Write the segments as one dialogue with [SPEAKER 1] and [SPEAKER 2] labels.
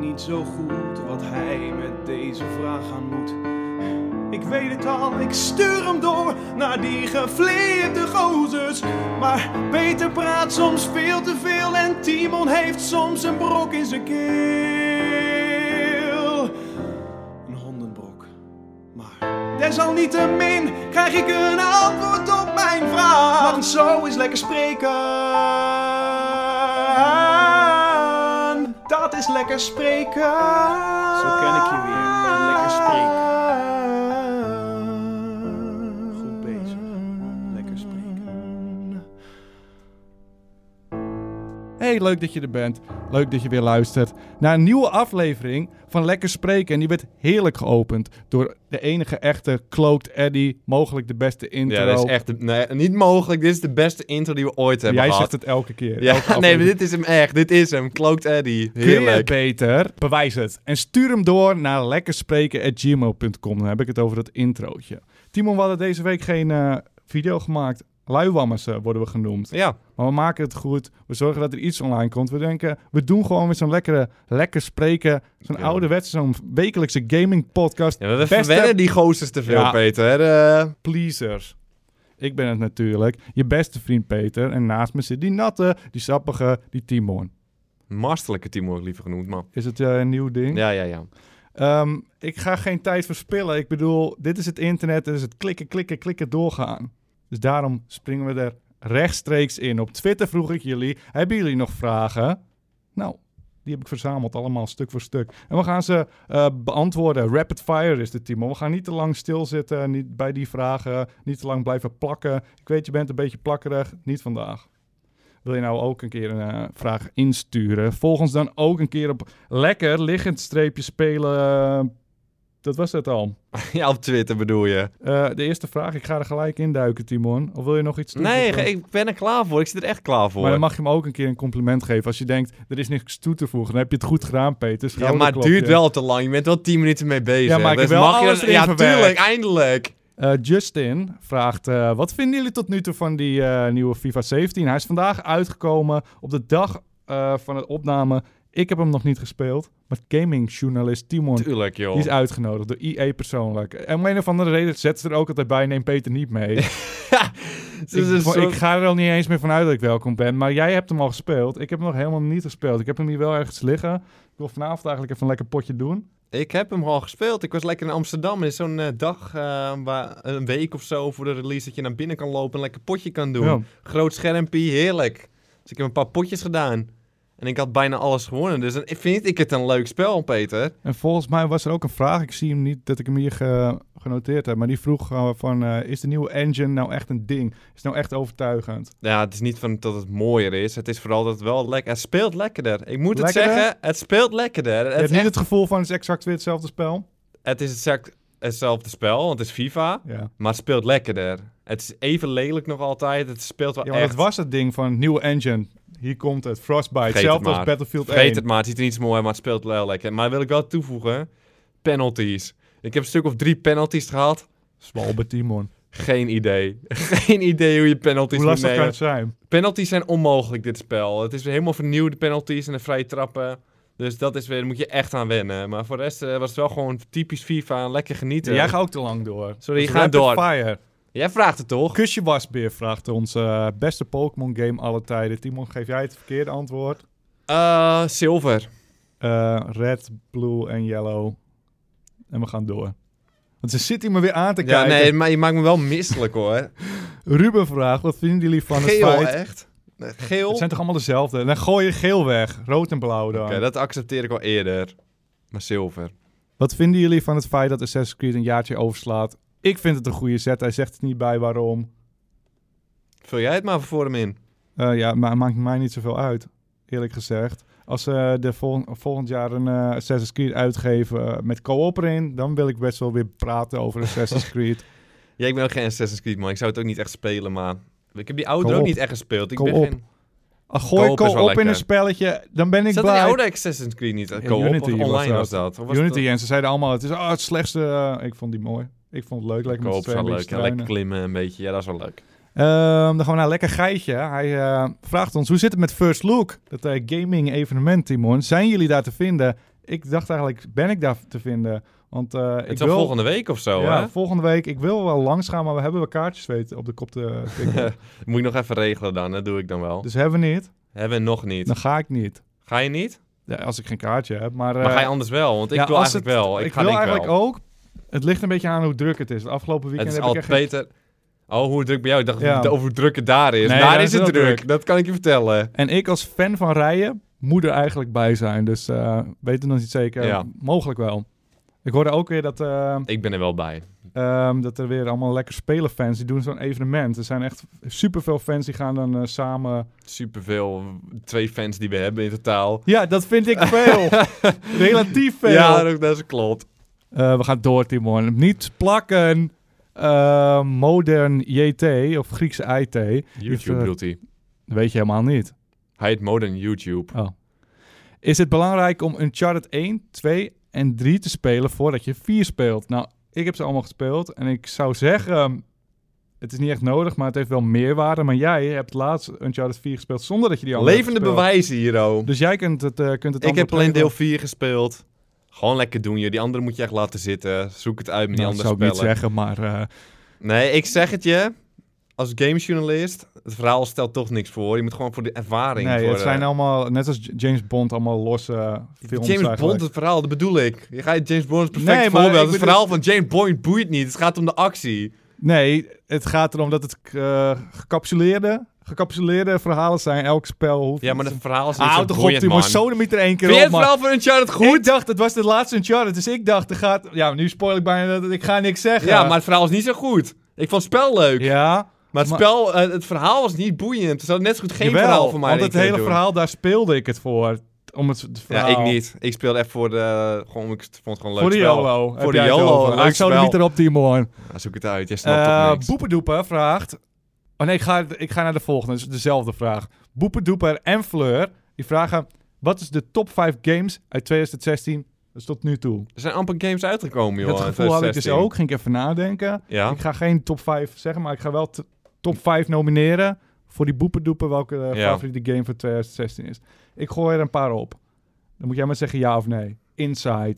[SPEAKER 1] niet zo goed wat hij met deze vraag aan moet. Ik weet het al, ik stuur hem door naar die gefleerde gozers. Maar Peter praat soms veel te veel en Timon heeft soms een brok in zijn keel. Een hondenbrok. Maar desalniettemin krijg ik een antwoord op mijn vraag. Want zo is lekker spreken. Dat is lekker spreken.
[SPEAKER 2] Zo ken ik je weer, een lekker spreken.
[SPEAKER 1] Goed bezig. Lekker spreken.
[SPEAKER 3] Hey, leuk dat je er bent. Leuk dat je weer luistert naar een nieuwe aflevering van Lekker Spreken. En die werd heerlijk geopend door de enige echte Cloaked Eddy. Mogelijk de beste intro.
[SPEAKER 2] Ja, dat is echt... de- Nee, niet mogelijk. Dit is de beste intro die we ooit hebben
[SPEAKER 3] Jij
[SPEAKER 2] gehad.
[SPEAKER 3] zegt het elke keer. elke
[SPEAKER 2] Ja, nee,
[SPEAKER 3] aflevering.
[SPEAKER 2] maar dit is hem echt. Dit is hem. Cloaked Eddy.
[SPEAKER 3] Kun je het
[SPEAKER 2] Heerlijk.
[SPEAKER 3] beter? Bewijs het. En stuur hem door naar lekkerspreken.gmail.com. Dan heb ik het over dat introotje. Timon, we hadden deze week geen eh, video gemaakt. Luiwammers eh, worden we genoemd.
[SPEAKER 2] Ja,
[SPEAKER 3] Maar we maken het goed. We zorgen dat er iets online komt. We denken, we doen gewoon met zo'n lekkere, lekker spreken. Zo'n
[SPEAKER 2] Ja.
[SPEAKER 3] ouderwetse, zo'n wekelijkse gaming podcast.
[SPEAKER 2] ja maar we
[SPEAKER 3] Beste-
[SPEAKER 2] verwennen die gozers te veel,
[SPEAKER 3] Ja.
[SPEAKER 2] Peter. Eh,
[SPEAKER 3] pleasers. Ik ben het natuurlijk. Je beste vriend Peter. En naast me zit die natte, die sappige, die Timon.
[SPEAKER 2] Mastelijke Timo word ik liever genoemd, man.
[SPEAKER 3] Is het eh, een nieuw ding?
[SPEAKER 2] Ja, ja, ja.
[SPEAKER 3] Ehm, ik ga geen tijd verspillen. Ik bedoel, dit is het internet. Dit is het klikken, klikken, klikken doorgaan. Dus daarom springen we er rechtstreeks in. Op Twitter vroeg ik jullie, hebben jullie nog vragen? Nou, die heb ik verzameld allemaal stuk voor stuk. En we gaan ze eh, beantwoorden. Rapid fire is de Timo. We gaan niet te lang stilzitten niet bij die vragen. Niet te lang blijven plakken. Ik weet, je bent een beetje plakkerig. Niet vandaag. Wil je nou ook een keer een eh, vraag insturen? Volg ons dan ook een keer op lekker liggend streepje spelen. eh, dat was het al.
[SPEAKER 2] Ja, op Twitter bedoel je.
[SPEAKER 3] Eh, de eerste vraag, ik ga er gelijk in duiken, Timon. Of wil je nog iets
[SPEAKER 2] Nee,
[SPEAKER 3] toevoegen?
[SPEAKER 2] ge- ik ben er klaar voor. Ik zit er echt klaar voor.
[SPEAKER 3] Hm. Maar dan mag je hem ook een keer een compliment geven. Als je denkt, er is niks toe te voegen, dan heb je het goed gedaan, Peter.
[SPEAKER 2] ja, maar het
[SPEAKER 3] Schouderklopje.
[SPEAKER 2] duurt wel te lang. Je bent wel 10 minuten mee bezig.
[SPEAKER 3] Ja, maar ik
[SPEAKER 2] Dus
[SPEAKER 3] heb wel
[SPEAKER 2] mag je
[SPEAKER 3] alles
[SPEAKER 2] dan-
[SPEAKER 3] erin
[SPEAKER 2] Ja,
[SPEAKER 3] verwerkt.
[SPEAKER 2] tuurlijk. Eindelijk.
[SPEAKER 3] Eh, Justin vraagt, eh, wat vinden jullie tot nu toe van die eh, nieuwe FIFA 17? Hij is vandaag uitgekomen op de dag eh, van het opname. Ik heb hem nog niet gespeeld, maar gamingjournalist Timon
[SPEAKER 2] Tuurlijk, joh.
[SPEAKER 3] Die is uitgenodigd door IE persoonlijk. En om een of andere reden zet ze er ook altijd bij. Neem Peter niet mee. ik,
[SPEAKER 2] Dus Het is een
[SPEAKER 3] vo-
[SPEAKER 2] soort-
[SPEAKER 3] ik ga er al niet eens meer van uit dat ik welkom ben. Maar jij hebt hem al gespeeld. Ik heb hem nog helemaal niet gespeeld. Ik heb hem hier wel ergens liggen. Ik wil vanavond eigenlijk even een lekker potje doen.
[SPEAKER 2] Ik heb hem al gespeeld. Ik was lekker in Amsterdam. Er is zo'n eh, dag, eh, waar, een week of zo voor de release, dat je naar binnen kan lopen en lekker potje kan doen.
[SPEAKER 3] Ja.
[SPEAKER 2] Groot schermpje, heerlijk. Dus ik heb een paar potjes gedaan. En ik had bijna alles gewonnen. Dus dan vind ik het een leuk spel, Peter.
[SPEAKER 3] En volgens mij was er ook een vraag. Ik zie hem niet dat ik hem hier ge- genoteerd heb. Maar die vroeg gewoon van, eh, is de nieuwe engine nou echt een ding? Is het nou echt overtuigend?
[SPEAKER 2] Ja, het is niet van dat het mooier is. Het is vooral dat het wel lekker... Het speelt lekkerder. Ik moet
[SPEAKER 3] Lekkerder?
[SPEAKER 2] het zeggen, het speelt lekkerder.
[SPEAKER 3] je
[SPEAKER 2] Het,
[SPEAKER 3] hebt
[SPEAKER 2] is
[SPEAKER 3] niet
[SPEAKER 2] echt-
[SPEAKER 3] het gevoel van, het is exact weer hetzelfde spel?
[SPEAKER 2] het is exact hetzelfde spel, want het is FIFA.
[SPEAKER 3] Ja.
[SPEAKER 2] Maar het speelt lekkerder. Het is even lelijk nog altijd. Het speelt wel
[SPEAKER 3] Ja, maar
[SPEAKER 2] echt...
[SPEAKER 3] dat was het ding van nieuwe engine. Hier komt het. Frostbite.
[SPEAKER 2] Vergeet
[SPEAKER 3] Hetzelfde
[SPEAKER 2] het
[SPEAKER 3] als
[SPEAKER 2] maar.
[SPEAKER 3] Battlefield 1.
[SPEAKER 2] Vergeet het maar, het ziet er niet zo mooi uit, maar het speelt wel lekker. Maar wil ik wel toevoegen, penalties. Ik heb een stuk of drie penalties gehad.
[SPEAKER 3] Zwalbe Timon.
[SPEAKER 2] Geen idee. Geen idee hoe je penalties
[SPEAKER 3] Hoe
[SPEAKER 2] moet
[SPEAKER 3] lastig kan
[SPEAKER 2] nemen.
[SPEAKER 3] het zijn?
[SPEAKER 2] Penalties zijn onmogelijk dit spel. Het is helemaal vernieuwde penalties en de vrije trappen. Dus dat is weer, daar moet je echt aan wennen. Maar voor de rest eh, was het wel gewoon typisch FIFA. Lekker genieten.
[SPEAKER 3] Jij gaat ook te lang door.
[SPEAKER 2] Sorry,
[SPEAKER 3] Dus
[SPEAKER 2] je gaat
[SPEAKER 3] rapid
[SPEAKER 2] door.
[SPEAKER 3] Fire.
[SPEAKER 2] Jij vraagt het toch?
[SPEAKER 3] Kusje wasbeer vraagt ons. eh, beste Pokémon game alle tijden. Timon, geef jij het verkeerde antwoord?
[SPEAKER 2] Eh, Zilver.
[SPEAKER 3] Eh, red, blue en yellow. En we gaan door. Want ze zit hier maar weer aan te
[SPEAKER 2] Ja,
[SPEAKER 3] kijken.
[SPEAKER 2] nee, maar je maakt me wel misselijk hoor.
[SPEAKER 3] Ruben vraagt, wat vinden jullie van het
[SPEAKER 2] Geel,
[SPEAKER 3] feit...
[SPEAKER 2] echt? Geel?
[SPEAKER 3] Het zijn toch allemaal dezelfde? En dan gooi je geel weg. Rood en blauw dan.
[SPEAKER 2] Oké, dat accepteer ik al eerder. Maar zilver.
[SPEAKER 3] Wat vinden jullie van het feit dat Assassin's Creed een jaartje overslaat? Ik vind het een goede set. Hij zegt het niet bij waarom.
[SPEAKER 2] Vul jij het maar voor hem in.
[SPEAKER 3] Eh, ja, maar maakt mij niet zoveel uit, eerlijk gezegd. Als ze de vol- volgend jaar een eh, Assassin's Creed uitgeven eh, met co-op erin, dan wil ik best wel weer praten over Assassin's Creed.
[SPEAKER 2] Ja, ik ben ook geen Assassin's Creed man. Ik zou het ook niet echt spelen, maar ik heb die oude
[SPEAKER 3] Kom
[SPEAKER 2] ook
[SPEAKER 3] op.
[SPEAKER 2] niet echt gespeeld. Ik
[SPEAKER 3] Kom
[SPEAKER 2] ben
[SPEAKER 3] op.
[SPEAKER 2] geen...
[SPEAKER 3] Ah, gooi
[SPEAKER 2] Co-op is wel
[SPEAKER 3] co-op in
[SPEAKER 2] lekker.
[SPEAKER 3] een spelletje, dan ben ik
[SPEAKER 2] Zat in die
[SPEAKER 3] blij.
[SPEAKER 2] oude Assassin's Creed niet?
[SPEAKER 3] Ja,
[SPEAKER 2] co
[SPEAKER 3] Unity was
[SPEAKER 2] online
[SPEAKER 3] dat.
[SPEAKER 2] was dat. Of was
[SPEAKER 3] Unity en ze zeiden allemaal, het is ah, het slechtste. eh, ik vond die mooi. Ik vond het leuk,
[SPEAKER 2] dat...
[SPEAKER 3] lekker met
[SPEAKER 2] Co-op
[SPEAKER 3] z'n
[SPEAKER 2] is
[SPEAKER 3] tweeën een
[SPEAKER 2] wel leuk.
[SPEAKER 3] beetje
[SPEAKER 2] Ja,
[SPEAKER 3] te struinen.
[SPEAKER 2] lekker klimmen een beetje. Ja, dat is wel leuk.
[SPEAKER 3] Ehm, dan gaan we naar Lekker Geitje. Hij eh, vraagt ons, hoe zit het met First Look? Dat eh, gaming evenement, Timon. Zijn jullie daar te vinden? Ik dacht eigenlijk, ben ik daar te vinden? Want eh,
[SPEAKER 2] Het
[SPEAKER 3] ik
[SPEAKER 2] is
[SPEAKER 3] wil...
[SPEAKER 2] al volgende week of zo,
[SPEAKER 3] ja,
[SPEAKER 2] hè?
[SPEAKER 3] volgende week. Ik wil wel langs gaan, maar we hebben wel kaartjes weten op de kop te tikken.
[SPEAKER 2] Moet ik nog even regelen dan, dat doe ik dan wel.
[SPEAKER 3] dus Nou. hebben we niet,
[SPEAKER 2] Hebben we nog niet.
[SPEAKER 3] dan ga ik niet.
[SPEAKER 2] Ga je niet?
[SPEAKER 3] Ja, als ik geen kaartje heb. Maar,
[SPEAKER 2] Maar
[SPEAKER 3] eh,
[SPEAKER 2] ga je anders wel? Want ik
[SPEAKER 3] ja,
[SPEAKER 2] wil
[SPEAKER 3] als
[SPEAKER 2] eigenlijk wel. Ik,
[SPEAKER 3] ik
[SPEAKER 2] ga
[SPEAKER 3] wil
[SPEAKER 2] denk ik
[SPEAKER 3] eigenlijk
[SPEAKER 2] wel.
[SPEAKER 3] ook... Het ligt een beetje aan hoe druk het is. Het afgelopen weekend
[SPEAKER 2] Het is
[SPEAKER 3] heb
[SPEAKER 2] al
[SPEAKER 3] ik echt geen-
[SPEAKER 2] beter... Oh, hoe druk bij jou? Ik dacht
[SPEAKER 3] Ja.
[SPEAKER 2] over hoe druk het daar is.
[SPEAKER 3] Nee,
[SPEAKER 2] daar
[SPEAKER 3] daar is
[SPEAKER 2] is het
[SPEAKER 3] wel
[SPEAKER 2] druk.
[SPEAKER 3] druk.
[SPEAKER 2] Dat kan ik je vertellen.
[SPEAKER 3] En ik als fan van rijden moet er eigenlijk bij zijn. Dus eh weten we nog niet zeker.
[SPEAKER 2] Ja.
[SPEAKER 3] Mogelijk wel. Ik hoorde ook weer dat, eh,
[SPEAKER 2] Ik ben er wel bij.
[SPEAKER 3] ehm, dat er weer allemaal lekker spelerfans... die doen zo'n evenement. Er zijn echt superveel fans die gaan dan eh, samen...
[SPEAKER 2] Superveel. Twee fans die we hebben in totaal.
[SPEAKER 3] Ja, dat vind ik veel. Relatief veel.
[SPEAKER 2] Ja, dat, dat is klopt.
[SPEAKER 3] Eh, we gaan door, Timon. Niet plakken. Eh, modern JT of Griekse IT. Heeft,
[SPEAKER 2] YouTube
[SPEAKER 3] eh,
[SPEAKER 2] bedoelt hij.
[SPEAKER 3] Dat weet je helemaal niet.
[SPEAKER 2] Hij heet Modern YouTube.
[SPEAKER 3] Oh. Is het belangrijk om Uncharted 1, 2 en 3 te spelen voordat je 4 speelt? Nou, ik heb ze allemaal gespeeld. En ik zou zeggen, het is niet echt nodig, maar het heeft wel meerwaarde. Maar jij hebt laatst Uncharted 4 gespeeld zonder dat je die al
[SPEAKER 2] Levende bewijzen hier, oh.
[SPEAKER 3] Dus jij kunt het, eh, kunt het
[SPEAKER 2] Ik heb
[SPEAKER 3] antwoord
[SPEAKER 2] alleen
[SPEAKER 3] geven.
[SPEAKER 2] deel 4 gespeeld. Gewoon lekker doen, joh. Die andere moet je echt laten zitten. Zoek het uit met die
[SPEAKER 3] Nou,
[SPEAKER 2] andere
[SPEAKER 3] Dat zou ik
[SPEAKER 2] spellen.
[SPEAKER 3] niet zeggen, maar... eh,
[SPEAKER 2] Nee, ik zeg het je. Als gamejournalist, het verhaal stelt toch niks voor. Je moet gewoon voor de ervaring.
[SPEAKER 3] Nee,
[SPEAKER 2] voor,
[SPEAKER 3] het
[SPEAKER 2] eh,
[SPEAKER 3] zijn allemaal, net als J- James Bond, allemaal losse eh, films
[SPEAKER 2] James
[SPEAKER 3] eigenlijk.
[SPEAKER 2] Bond, het verhaal, dat bedoel ik. Je gaat James Bond is een perfect
[SPEAKER 3] Nee, maar
[SPEAKER 2] voorbeeld.
[SPEAKER 3] ik
[SPEAKER 2] Het
[SPEAKER 3] bedoel-
[SPEAKER 2] verhaal van James Bond boeit niet. Het gaat om de actie.
[SPEAKER 3] Nee, het gaat erom dat het eh, gecapsuleerde, gecapsuleerde verhalen zijn. Elk spel hoeft...
[SPEAKER 2] Ja, maar het verhaal is niet
[SPEAKER 3] Ah,
[SPEAKER 2] zo
[SPEAKER 3] houd toch op,
[SPEAKER 2] boeiend,
[SPEAKER 3] Timo.
[SPEAKER 2] man.
[SPEAKER 3] Sodemiet er één keer
[SPEAKER 2] Vind je
[SPEAKER 3] op, man.
[SPEAKER 2] het verhaal van Uncharted goed?
[SPEAKER 3] Ik dacht, het was de laatste Uncharted, dus ik dacht, er gaat... Ja, nu spoil ik bijna dat ik ga niks zeggen.
[SPEAKER 2] Ja, maar het verhaal is niet zo goed. Ik vond het spel leuk.
[SPEAKER 3] Ja,
[SPEAKER 2] Maar het,
[SPEAKER 3] maar-
[SPEAKER 2] spel, eh, het verhaal was niet boeiend. Ze hadden net zo goed geen
[SPEAKER 3] jawel,
[SPEAKER 2] verhaal voor mij.
[SPEAKER 3] want
[SPEAKER 2] erin
[SPEAKER 3] het
[SPEAKER 2] kunnen
[SPEAKER 3] hele
[SPEAKER 2] doen.
[SPEAKER 3] verhaal, daar speelde ik het voor. Om het, het verhaal...
[SPEAKER 2] Ja, ik niet. Ik speelde echt voor de... Gewoon, ik vond het gewoon leuk
[SPEAKER 3] Voor de
[SPEAKER 2] spel.
[SPEAKER 3] YOLO. heb
[SPEAKER 2] Voor de
[SPEAKER 3] jij het
[SPEAKER 2] YOLO.
[SPEAKER 3] over.
[SPEAKER 2] leuk
[SPEAKER 3] Ah, Ik zou er
[SPEAKER 2] spel.
[SPEAKER 3] niet erop, Timon.
[SPEAKER 2] Ja, zoek het uit. Jij snapt toch
[SPEAKER 3] Eh
[SPEAKER 2] niks.
[SPEAKER 3] Boependoeper vraagt... Oh nee, ik ga, ik ga naar de volgende. Dus dezelfde vraag. Boependoeper en Fleur, die vragen... Wat is de top 5 games uit 2016? Dus tot nu toe.
[SPEAKER 2] Er zijn amper games uitgekomen, joh.
[SPEAKER 3] dat
[SPEAKER 2] in
[SPEAKER 3] gevoel had ik dus
[SPEAKER 2] 2016.
[SPEAKER 3] ook. Ging ik even nadenken.
[SPEAKER 2] Ja.
[SPEAKER 3] Ik ga geen top 5 zeggen, maar ik ga wel t- top 5 nomineren... voor die Boependoeper welke eh,
[SPEAKER 2] Ja.
[SPEAKER 3] favoriete game van 2016 is. Ik gooi er een paar op. Dan moet jij maar zeggen ja of nee. Inside.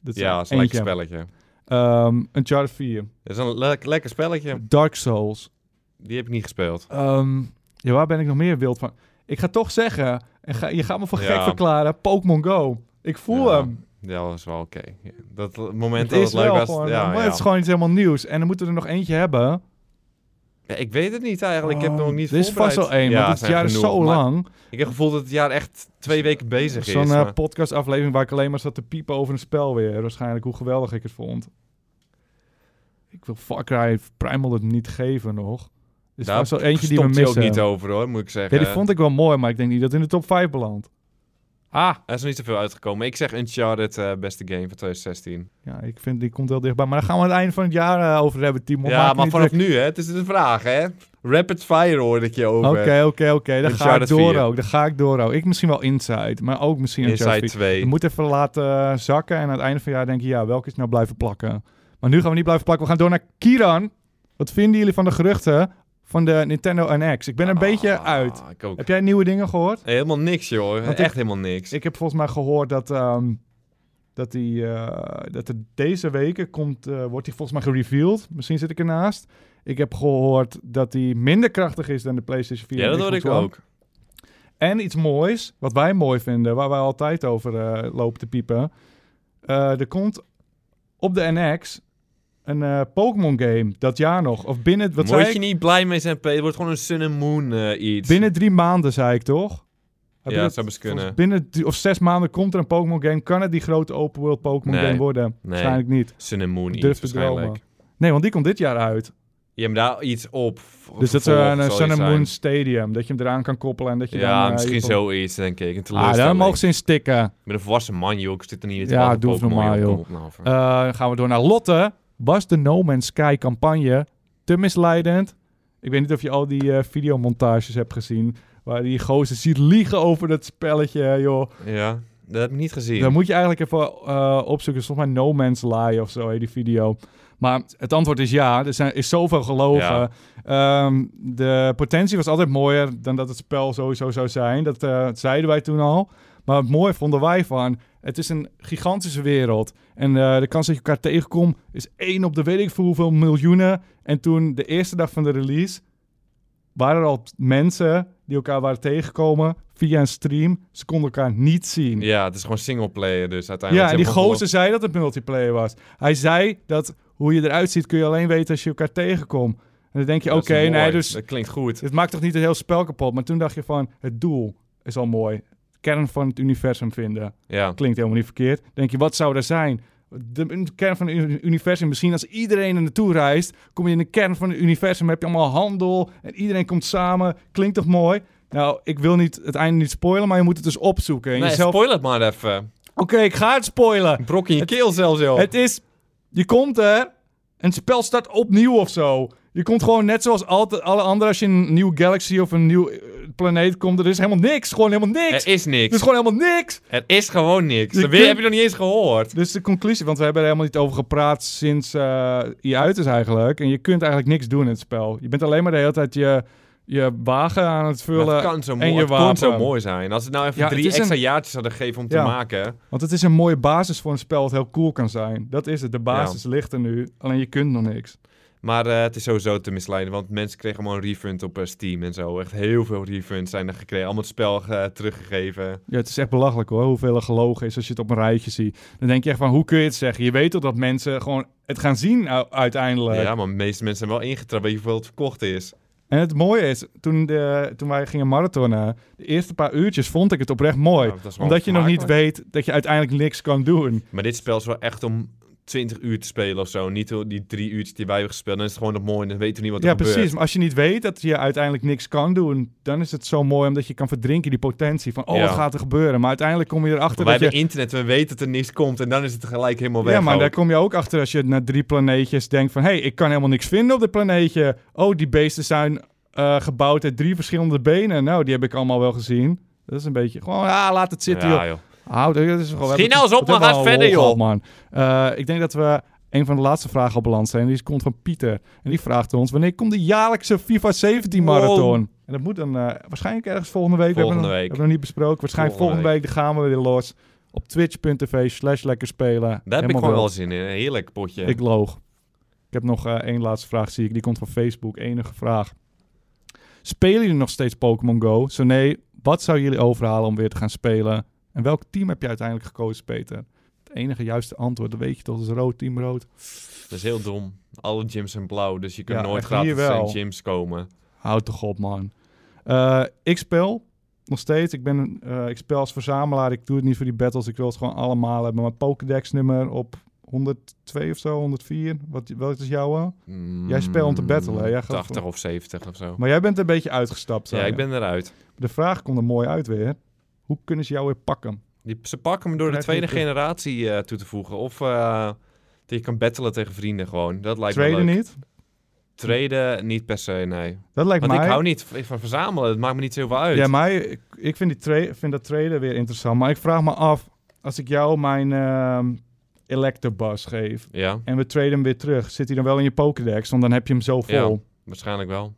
[SPEAKER 3] Dat
[SPEAKER 2] Ja, dat is
[SPEAKER 3] eentje.
[SPEAKER 2] een lekker spelletje.
[SPEAKER 3] Ehm, Uncharted 4.
[SPEAKER 2] Dat is een le- lekker spelletje.
[SPEAKER 3] Dark Souls.
[SPEAKER 2] Die heb ik niet gespeeld.
[SPEAKER 3] Ehm, ja, waar ben ik nog meer wild van? Ik ga toch zeggen, en ga, je gaat me voor
[SPEAKER 2] Ja.
[SPEAKER 3] gek verklaren, Pokémon Go. Ik voel
[SPEAKER 2] Ja,
[SPEAKER 3] hem.
[SPEAKER 2] Ja, dat is wel oké. Ja, Dat l- moment
[SPEAKER 3] Het
[SPEAKER 2] dat het
[SPEAKER 3] is
[SPEAKER 2] leuk
[SPEAKER 3] wel
[SPEAKER 2] was.
[SPEAKER 3] gewoon,
[SPEAKER 2] ja,
[SPEAKER 3] maar
[SPEAKER 2] ja.
[SPEAKER 3] het is gewoon iets helemaal nieuws. En dan moeten we er nog eentje hebben.
[SPEAKER 2] Ja, ik weet het niet eigenlijk. Ik heb het
[SPEAKER 3] Ehm,
[SPEAKER 2] nog niet
[SPEAKER 3] Er is vast
[SPEAKER 2] voorbereid.
[SPEAKER 3] wel één,
[SPEAKER 2] Ja,
[SPEAKER 3] want het
[SPEAKER 2] zijn
[SPEAKER 3] jaar is
[SPEAKER 2] genoeg,
[SPEAKER 3] zo
[SPEAKER 2] maar
[SPEAKER 3] lang.
[SPEAKER 2] Ik heb het gevoel dat het jaar echt twee weken bezig
[SPEAKER 3] Zo'n
[SPEAKER 2] is.
[SPEAKER 3] eh,
[SPEAKER 2] maar-
[SPEAKER 3] podcastaflevering waar ik alleen maar zat te piepen over een spel weer. Waarschijnlijk hoe geweldig ik het vond. Ik wil Far Cry Primal het niet geven nog. Er is
[SPEAKER 2] Daar
[SPEAKER 3] vast wel eentje die we
[SPEAKER 2] stopt
[SPEAKER 3] missen.
[SPEAKER 2] hij ook niet over, hoor, moet ik zeggen.
[SPEAKER 3] ja, die vond ik wel mooi, maar ik denk niet dat het in de top 5 belandt. Ah,
[SPEAKER 2] Er is nog niet zoveel uitgekomen. Ik zeg Uncharted, eh beste game van 2016.
[SPEAKER 3] Ja, ik vind die komt heel dichtbij. Maar daar gaan we aan het einde van het jaar eh, over hebben, Timo. Maak
[SPEAKER 2] ja,
[SPEAKER 3] je
[SPEAKER 2] maar
[SPEAKER 3] niet
[SPEAKER 2] vanaf
[SPEAKER 3] druk.
[SPEAKER 2] nu, hè. Het is de vraag, hè. Rapid fire hoorde ik je over.
[SPEAKER 3] Oké, oké, oké. Dan ga ik
[SPEAKER 2] Uncharted
[SPEAKER 3] door
[SPEAKER 2] 4.
[SPEAKER 3] ook. Dan ga ik door ook. Ik misschien wel Inside, maar ook misschien
[SPEAKER 2] Inside
[SPEAKER 3] Uncharted 4.
[SPEAKER 2] 2.
[SPEAKER 3] Je moet even laten eh, zakken en aan het einde van het jaar denk je, ja, welke is nou blijven plakken? Maar nu gaan we niet blijven plakken. We gaan door naar Kiran. Wat vinden jullie van de geruchten van de Nintendo NX? Ik ben er een
[SPEAKER 2] Ah,
[SPEAKER 3] beetje uit.
[SPEAKER 2] Ik ook.
[SPEAKER 3] Heb jij nieuwe dingen gehoord?
[SPEAKER 2] Helemaal niks, joh.
[SPEAKER 3] Want ik-
[SPEAKER 2] Echt helemaal niks.
[SPEAKER 3] Ik heb volgens mij gehoord dat, ehm, dat, die, eh, dat er deze weken komt, eh, wordt die volgens mij gereveeld. Misschien zit ik ernaast. Ik heb gehoord dat die minder krachtig is dan de PlayStation 4.
[SPEAKER 2] ja,
[SPEAKER 3] en
[SPEAKER 2] dat hoorde
[SPEAKER 3] Xbox
[SPEAKER 2] ik
[SPEAKER 3] One.
[SPEAKER 2] ook.
[SPEAKER 3] En iets moois, wat wij mooi vinden, waar wij altijd over eh, lopen te piepen. Eh, er komt op de NX een eh, Pokémon game dat jaar nog. Of binnen, wat zei
[SPEAKER 2] Moet je
[SPEAKER 3] ik?
[SPEAKER 2] niet blij mee zijn, P. Het wordt gewoon een Sun and Moon eh, iets.
[SPEAKER 3] binnen drie maanden, zei ik toch? Heb
[SPEAKER 2] Ja,
[SPEAKER 3] je
[SPEAKER 2] dat zou best kunnen.
[SPEAKER 3] volgens- Binnen drie of zes maanden komt er een Pokémon game. Kan het die grote open world Pokémon
[SPEAKER 2] Nee.
[SPEAKER 3] game worden? Waarschijnlijk niet.
[SPEAKER 2] Sun and Moon
[SPEAKER 3] Durf te
[SPEAKER 2] iets waarschijnlijk.
[SPEAKER 3] dromen. Nee, want die komt dit jaar uit.
[SPEAKER 2] Je hebt daar iets op. v-
[SPEAKER 3] Dus dat is
[SPEAKER 2] vervolg
[SPEAKER 3] een eh,
[SPEAKER 2] zal
[SPEAKER 3] Sun
[SPEAKER 2] iets
[SPEAKER 3] and
[SPEAKER 2] zijn.
[SPEAKER 3] Moon Stadium. Dat je hem eraan kan koppelen en dat je dan...
[SPEAKER 2] Ja,
[SPEAKER 3] eh,
[SPEAKER 2] misschien
[SPEAKER 3] je Pokémon-
[SPEAKER 2] zoiets, denk ik. Een
[SPEAKER 3] Ah,
[SPEAKER 2] teleurstelling.
[SPEAKER 3] daar mogen ze in stikken.
[SPEAKER 2] Ik ben een volwassen man, joh. Ik zit er niet in te
[SPEAKER 3] Ja,
[SPEAKER 2] wachten op
[SPEAKER 3] doe het
[SPEAKER 2] Pokémon,
[SPEAKER 3] normaal,
[SPEAKER 2] Kom
[SPEAKER 3] joh.
[SPEAKER 2] op nou even.
[SPEAKER 3] Eh, dan gaan we door naar Lotte. Was de No Man's Sky campagne te misleidend? Ik weet niet of je al die eh, videomontages hebt gezien... waar die gozer ziet liegen over dat spelletje, joh.
[SPEAKER 2] ja, dat heb ik niet gezien.
[SPEAKER 3] Dan moet je eigenlijk even eh, opzoeken. Volgens mij No Man's Lie of zo heet die video. Maar het antwoord is ja. Er zijn, is zoveel gelogen. Ehm, de potentie was altijd mooier dan dat het spel sowieso zou zijn. Dat eh, zeiden wij toen al. Maar het mooie vonden wij van, het is een gigantische wereld. En eh, de kans dat je elkaar tegenkomt is één op de weet ik veel hoeveel miljoenen. En toen, de eerste dag van de release, waren er al mensen die elkaar waren tegengekomen via een stream. Ze konden elkaar niet zien.
[SPEAKER 2] Ja, het is gewoon singleplayer dus
[SPEAKER 3] Ja,
[SPEAKER 2] uiteindelijk.
[SPEAKER 3] en die
[SPEAKER 2] Ze hebben
[SPEAKER 3] gozer zei dat het multiplayer was. Hij zei dat hoe je eruit ziet kun je alleen weten als je elkaar tegenkomt. En dan denk je,
[SPEAKER 2] gewoon-
[SPEAKER 3] oké,
[SPEAKER 2] Dat is mooi.
[SPEAKER 3] nee, dus
[SPEAKER 2] Dat klinkt goed.
[SPEAKER 3] het maakt toch niet het hele spel kapot. Maar toen dacht je van, het doel is al mooi. Kern van het universum vinden.
[SPEAKER 2] Ja.
[SPEAKER 3] Klinkt helemaal niet verkeerd. Denk je, wat zou daar zijn? De de kern van het uni- universum. Misschien als iedereen er naartoe reist, kom je in de kern van het universum. Heb je allemaal handel en iedereen komt samen. Klinkt toch mooi? Nou, ik wil niet het einde niet spoilen, maar je moet het dus opzoeken. En
[SPEAKER 2] Nee,
[SPEAKER 3] jezelf...
[SPEAKER 2] spoil het maar even.
[SPEAKER 3] Oké, ik ga het spoilen.
[SPEAKER 2] Een brok in je
[SPEAKER 3] Het-
[SPEAKER 2] keel zelfs, joh.
[SPEAKER 3] Het is, je komt er en het spel start opnieuw of zo. Je komt gewoon net zoals altijd, alle anderen als je in een nieuwe galaxy of een nieuw eh, planeet komt. Er is helemaal niks, gewoon helemaal niks.
[SPEAKER 2] er is
[SPEAKER 3] Er
[SPEAKER 2] niks.
[SPEAKER 3] is gewoon helemaal niks.
[SPEAKER 2] Er is gewoon niks.
[SPEAKER 3] Je
[SPEAKER 2] Dat
[SPEAKER 3] kunt-
[SPEAKER 2] weer heb je nog niet eens gehoord.
[SPEAKER 3] Dus de conclusie, want we hebben er helemaal niet over gepraat sinds eh je uit is eigenlijk. En je kunt eigenlijk niks doen in het spel. Je bent alleen maar de hele tijd je, je wagen aan het
[SPEAKER 2] Maar
[SPEAKER 3] vullen.
[SPEAKER 2] het kan zo
[SPEAKER 3] en
[SPEAKER 2] mooi,
[SPEAKER 3] je
[SPEAKER 2] het kon
[SPEAKER 3] wapen.
[SPEAKER 2] zo mooi zijn. Als het nou even
[SPEAKER 3] Ja,
[SPEAKER 2] drie
[SPEAKER 3] het is
[SPEAKER 2] extra jaartjes hadden gegeven om te
[SPEAKER 3] Ja.
[SPEAKER 2] maken.
[SPEAKER 3] Want het is een mooie basis voor een spel dat heel cool kan zijn. Dat is het, de basis ligt er nu. Alleen je kunt nog niks.
[SPEAKER 2] Maar eh, het is sowieso te misleiden, want mensen kregen allemaal een refund op eh, Steam en zo. Echt heel veel refunds zijn er gekregen. Allemaal het spel eh, teruggegeven.
[SPEAKER 3] Ja, het is echt belachelijk hoor, hoeveel er gelogen is als je het op een rijtje ziet. Dan denk je echt van, hoe kun je het zeggen? Je weet toch dat mensen gewoon het gaan zien u- uiteindelijk.
[SPEAKER 2] Ja, maar de meeste mensen zijn wel ingetrapt. Weet je hoeveel het verkocht is?
[SPEAKER 3] En het mooie is, toen, de, toen wij gingen marathonnen, de eerste paar uurtjes vond ik het oprecht mooi.
[SPEAKER 2] Ja, dat is wel
[SPEAKER 3] omdat je nog niet
[SPEAKER 2] vermakelijk.
[SPEAKER 3] weet dat je uiteindelijk niks kan doen.
[SPEAKER 2] Maar dit spel is wel echt om 20 uur te spelen of zo. Niet die drie uurtjes die wij hebben gespeeld. Dan is het gewoon nog mooi en dan weten we niet wat er
[SPEAKER 3] ja,
[SPEAKER 2] gebeurt.
[SPEAKER 3] precies. Maar als je niet weet dat je uiteindelijk niks kan doen, dan is het zo mooi omdat je kan verdrinken die potentie van, oh,
[SPEAKER 2] Ja.
[SPEAKER 3] wat gaat er gebeuren? Maar uiteindelijk kom je erachter
[SPEAKER 2] Maar wij
[SPEAKER 3] dat je...
[SPEAKER 2] hebben internet, we weten dat er niks komt en dan is het gelijk helemaal weg.
[SPEAKER 3] Ja, maar
[SPEAKER 2] ook.
[SPEAKER 3] daar kom je ook achter als je na drie planeetjes denkt van... hé, hey, ik kan helemaal niks vinden op dit planeetje. Oh, die beesten zijn eh, gebouwd uit drie verschillende benen. Nou, die heb ik allemaal wel gezien. Dat is een beetje gewoon, ah, laat het zitten, joh.
[SPEAKER 2] ja, joh.
[SPEAKER 3] Hou, dat is gewoon...
[SPEAKER 2] Schiet
[SPEAKER 3] we
[SPEAKER 2] nou eens op,
[SPEAKER 3] hebben- we
[SPEAKER 2] maar ga
[SPEAKER 3] hebben
[SPEAKER 2] eens
[SPEAKER 3] al
[SPEAKER 2] verder,
[SPEAKER 3] een hol gehad, man. Eh, ik denk dat we een van de laatste vragen al beland zijn. Die komt van Pieter. En die vraagt ons, wanneer komt de jaarlijkse FIFA 17
[SPEAKER 2] Wow.
[SPEAKER 3] marathon? En dat moet dan eh, waarschijnlijk ergens volgende week. we hebben
[SPEAKER 2] Volgende
[SPEAKER 3] nog-
[SPEAKER 2] week.
[SPEAKER 3] hebben nog niet besproken. Waarschijnlijk volgende,
[SPEAKER 2] Volgende
[SPEAKER 3] week. dan gaan we weer los. Op twitch.tv slash lekker spelen.
[SPEAKER 2] Daar heb ik
[SPEAKER 3] Helemaal
[SPEAKER 2] gewoon
[SPEAKER 3] wild.
[SPEAKER 2] wel zin in. Een heerlijk potje.
[SPEAKER 3] Ik loog. Ik heb nog eh, één laatste vraag, zie ik. Die komt van Facebook. Enige vraag. Spelen jullie nog steeds Pokémon Go? Zo nee, wat zou jullie overhalen om weer te gaan spelen? En welk team heb je uiteindelijk gekozen, Peter? Het enige juiste antwoord, dat weet je toch, is rood, team rood.
[SPEAKER 2] Dat is heel dom. Alle gyms zijn blauw, dus je kunt
[SPEAKER 3] Ja,
[SPEAKER 2] nooit
[SPEAKER 3] echt hier
[SPEAKER 2] gratis in
[SPEAKER 3] wel.
[SPEAKER 2] gyms komen.
[SPEAKER 3] Houd toch op, man. Eh, ik speel nog steeds. Ik, ben, eh, ik speel als verzamelaar. Ik doe het niet voor die battles. Ik wil het gewoon allemaal hebben. Mijn Pokédex-nummer op 102 of zo, 104. Wat, wat is jouw? eh? Jij speelt om te battlen, hè? Jij gaat
[SPEAKER 2] 80 of 70 of zo.
[SPEAKER 3] Maar jij bent een beetje uitgestapt. eh,
[SPEAKER 2] Ja,
[SPEAKER 3] zei
[SPEAKER 2] ik
[SPEAKER 3] je.
[SPEAKER 2] ben eruit.
[SPEAKER 3] De vraag komt er mooi uit weer. Hoe kunnen ze jou weer pakken?
[SPEAKER 2] Die, ze pakken me door de
[SPEAKER 3] Blijf
[SPEAKER 2] tweede
[SPEAKER 3] niet terug.
[SPEAKER 2] generatie eh, toe te voegen. Of eh, dat je kan battelen tegen vrienden gewoon. Dat lijkt me
[SPEAKER 3] Traden
[SPEAKER 2] leuk.
[SPEAKER 3] niet?
[SPEAKER 2] Traden niet per se, nee.
[SPEAKER 3] Dat lijkt
[SPEAKER 2] Want
[SPEAKER 3] mij...
[SPEAKER 2] ik hou niet v- van verzamelen. Het maakt me niet zo heel veel uit.
[SPEAKER 3] Ja, mij, ik, ik vind, die tra- vind dat traden weer interessant. Maar ik vraag me af, als ik jou mijn ehm Electabuzz geef
[SPEAKER 2] Ja,
[SPEAKER 3] en we traden hem weer terug, zit hij dan wel in je Pokédex? Want dan heb je hem zo vol.
[SPEAKER 2] waarschijnlijk wel.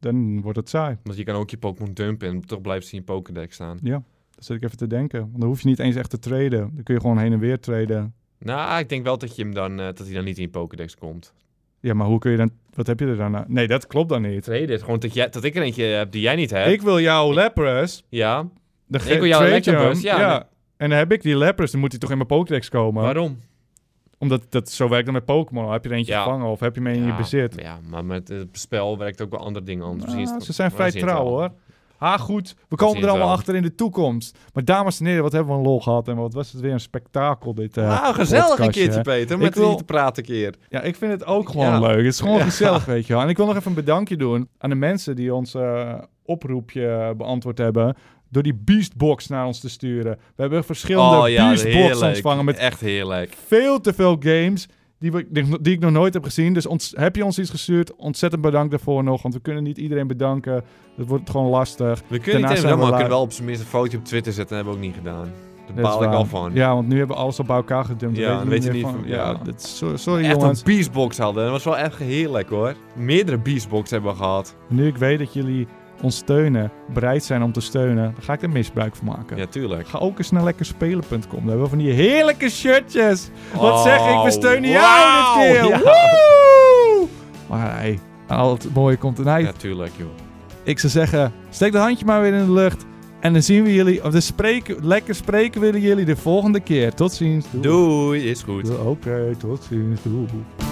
[SPEAKER 3] Dan wordt het saai.
[SPEAKER 2] Want je kan ook je Pokémon dumpen en toch blijft ze in je Pokédex staan.
[SPEAKER 3] Dan zit ik even te denken. Want dan hoef je niet eens echt te traden. Dan kun je gewoon heen en weer traden.
[SPEAKER 2] Nou, ik denk wel dat, je hem dan, eh, dat hij dan niet in je Pokédex komt.
[SPEAKER 3] Ja, maar hoe kun je dan... Wat heb je er dan aan? Nee, dat klopt dan niet.
[SPEAKER 2] Traden is gewoon dat, jij, dat ik er eentje heb die jij niet hebt.
[SPEAKER 3] Ik wil jou Lapras.
[SPEAKER 2] Ja,
[SPEAKER 3] Dan
[SPEAKER 2] Ik wil jou
[SPEAKER 3] trade
[SPEAKER 2] Electabuzz,
[SPEAKER 3] hem.
[SPEAKER 2] ja.
[SPEAKER 3] En dan heb ik die Lapras, dan moet hij toch in mijn Pokédex komen.
[SPEAKER 2] waarom?
[SPEAKER 3] Omdat dat, zo werkt dat met Pokémon. Al Heb je er eentje
[SPEAKER 2] Ja.
[SPEAKER 3] gevangen of heb je hem in je
[SPEAKER 2] Ja,
[SPEAKER 3] bezit?
[SPEAKER 2] Ja, maar met het spel werkt ook wel andere dingen anders. Misschien is
[SPEAKER 3] Ah,
[SPEAKER 2] het-
[SPEAKER 3] ze zijn
[SPEAKER 2] maar
[SPEAKER 3] vrij
[SPEAKER 2] dat is niet
[SPEAKER 3] trouw
[SPEAKER 2] wel.
[SPEAKER 3] hoor. Ha, goed. We
[SPEAKER 2] is
[SPEAKER 3] komen
[SPEAKER 2] niet
[SPEAKER 3] er allemaal
[SPEAKER 2] wel.
[SPEAKER 3] achter in de toekomst. Maar dames en heren, wat hebben we een lol gehad. En wat was het weer een spektakel dit. eh.
[SPEAKER 2] nou, gezellig een
[SPEAKER 3] podcastje,
[SPEAKER 2] keertje,
[SPEAKER 3] hè.
[SPEAKER 2] Peter.
[SPEAKER 3] Ik
[SPEAKER 2] Met
[SPEAKER 3] wil-
[SPEAKER 2] wil... te praten een keer.
[SPEAKER 3] Ja, ik vind het ook gewoon
[SPEAKER 2] Ja.
[SPEAKER 3] leuk. Het is gewoon
[SPEAKER 2] Ja.
[SPEAKER 3] gezellig, weet je wel. En ik wil nog even een bedankje doen aan de mensen die ons eh, oproepje beantwoord hebben. Door die Beastbox naar ons te sturen. We hebben verschillende
[SPEAKER 2] Oh,
[SPEAKER 3] Beastbox ontvangen met
[SPEAKER 2] Echt heerlijk.
[SPEAKER 3] veel te veel games die, we, die, die ik nog nooit heb gezien. Dus ons, heb je ons iets gestuurd? Ontzettend bedankt daarvoor nog. Want we kunnen niet iedereen bedanken. Dat wordt gewoon lastig.
[SPEAKER 2] We kunnen
[SPEAKER 3] Daarna
[SPEAKER 2] niet
[SPEAKER 3] zijn we
[SPEAKER 2] hebben, maar we
[SPEAKER 3] live.
[SPEAKER 2] kunnen wel op zijn minst een foto op Twitter zetten. Dat hebben we ook niet gedaan. Daar
[SPEAKER 3] Dat is
[SPEAKER 2] baal ik
[SPEAKER 3] waar.
[SPEAKER 2] al van.
[SPEAKER 3] Dus, eh, Ja, want nu hebben we alles al bij elkaar gedumpt.
[SPEAKER 2] Ja,
[SPEAKER 3] Dan
[SPEAKER 2] dan weet je
[SPEAKER 3] meer
[SPEAKER 2] niet
[SPEAKER 3] van-
[SPEAKER 2] van-
[SPEAKER 3] Ja,
[SPEAKER 2] ja.
[SPEAKER 3] dat, so- sorry
[SPEAKER 2] Echt
[SPEAKER 3] jongens.
[SPEAKER 2] een beastbox hadden. Dat was wel echt heerlijk hoor. Meerdere beastbox hebben we gehad.
[SPEAKER 3] Nu ik weet dat jullie ons steunen, bereid zijn om te steunen, dan ga ik er misbruik van maken.
[SPEAKER 2] Ja, tuurlijk.
[SPEAKER 3] Ga ook eens naar lekkerspelen.com. Daar hebben we van die heerlijke shirtjes. Wat zeg ik? We steunen jou dit keer.
[SPEAKER 2] Oh, Ja.
[SPEAKER 3] Woe! Maar hey, al het mooie komt een eind.
[SPEAKER 2] Ja, tuurlijk, joh.
[SPEAKER 3] Ik zou zeggen, steek dat handje maar weer in de lucht. En dan zien we jullie, of dan spreken, lekker spreken willen jullie de volgende keer. Tot ziens. Doei.
[SPEAKER 2] Doei, is goed.
[SPEAKER 3] Oké, tot ziens. Doei.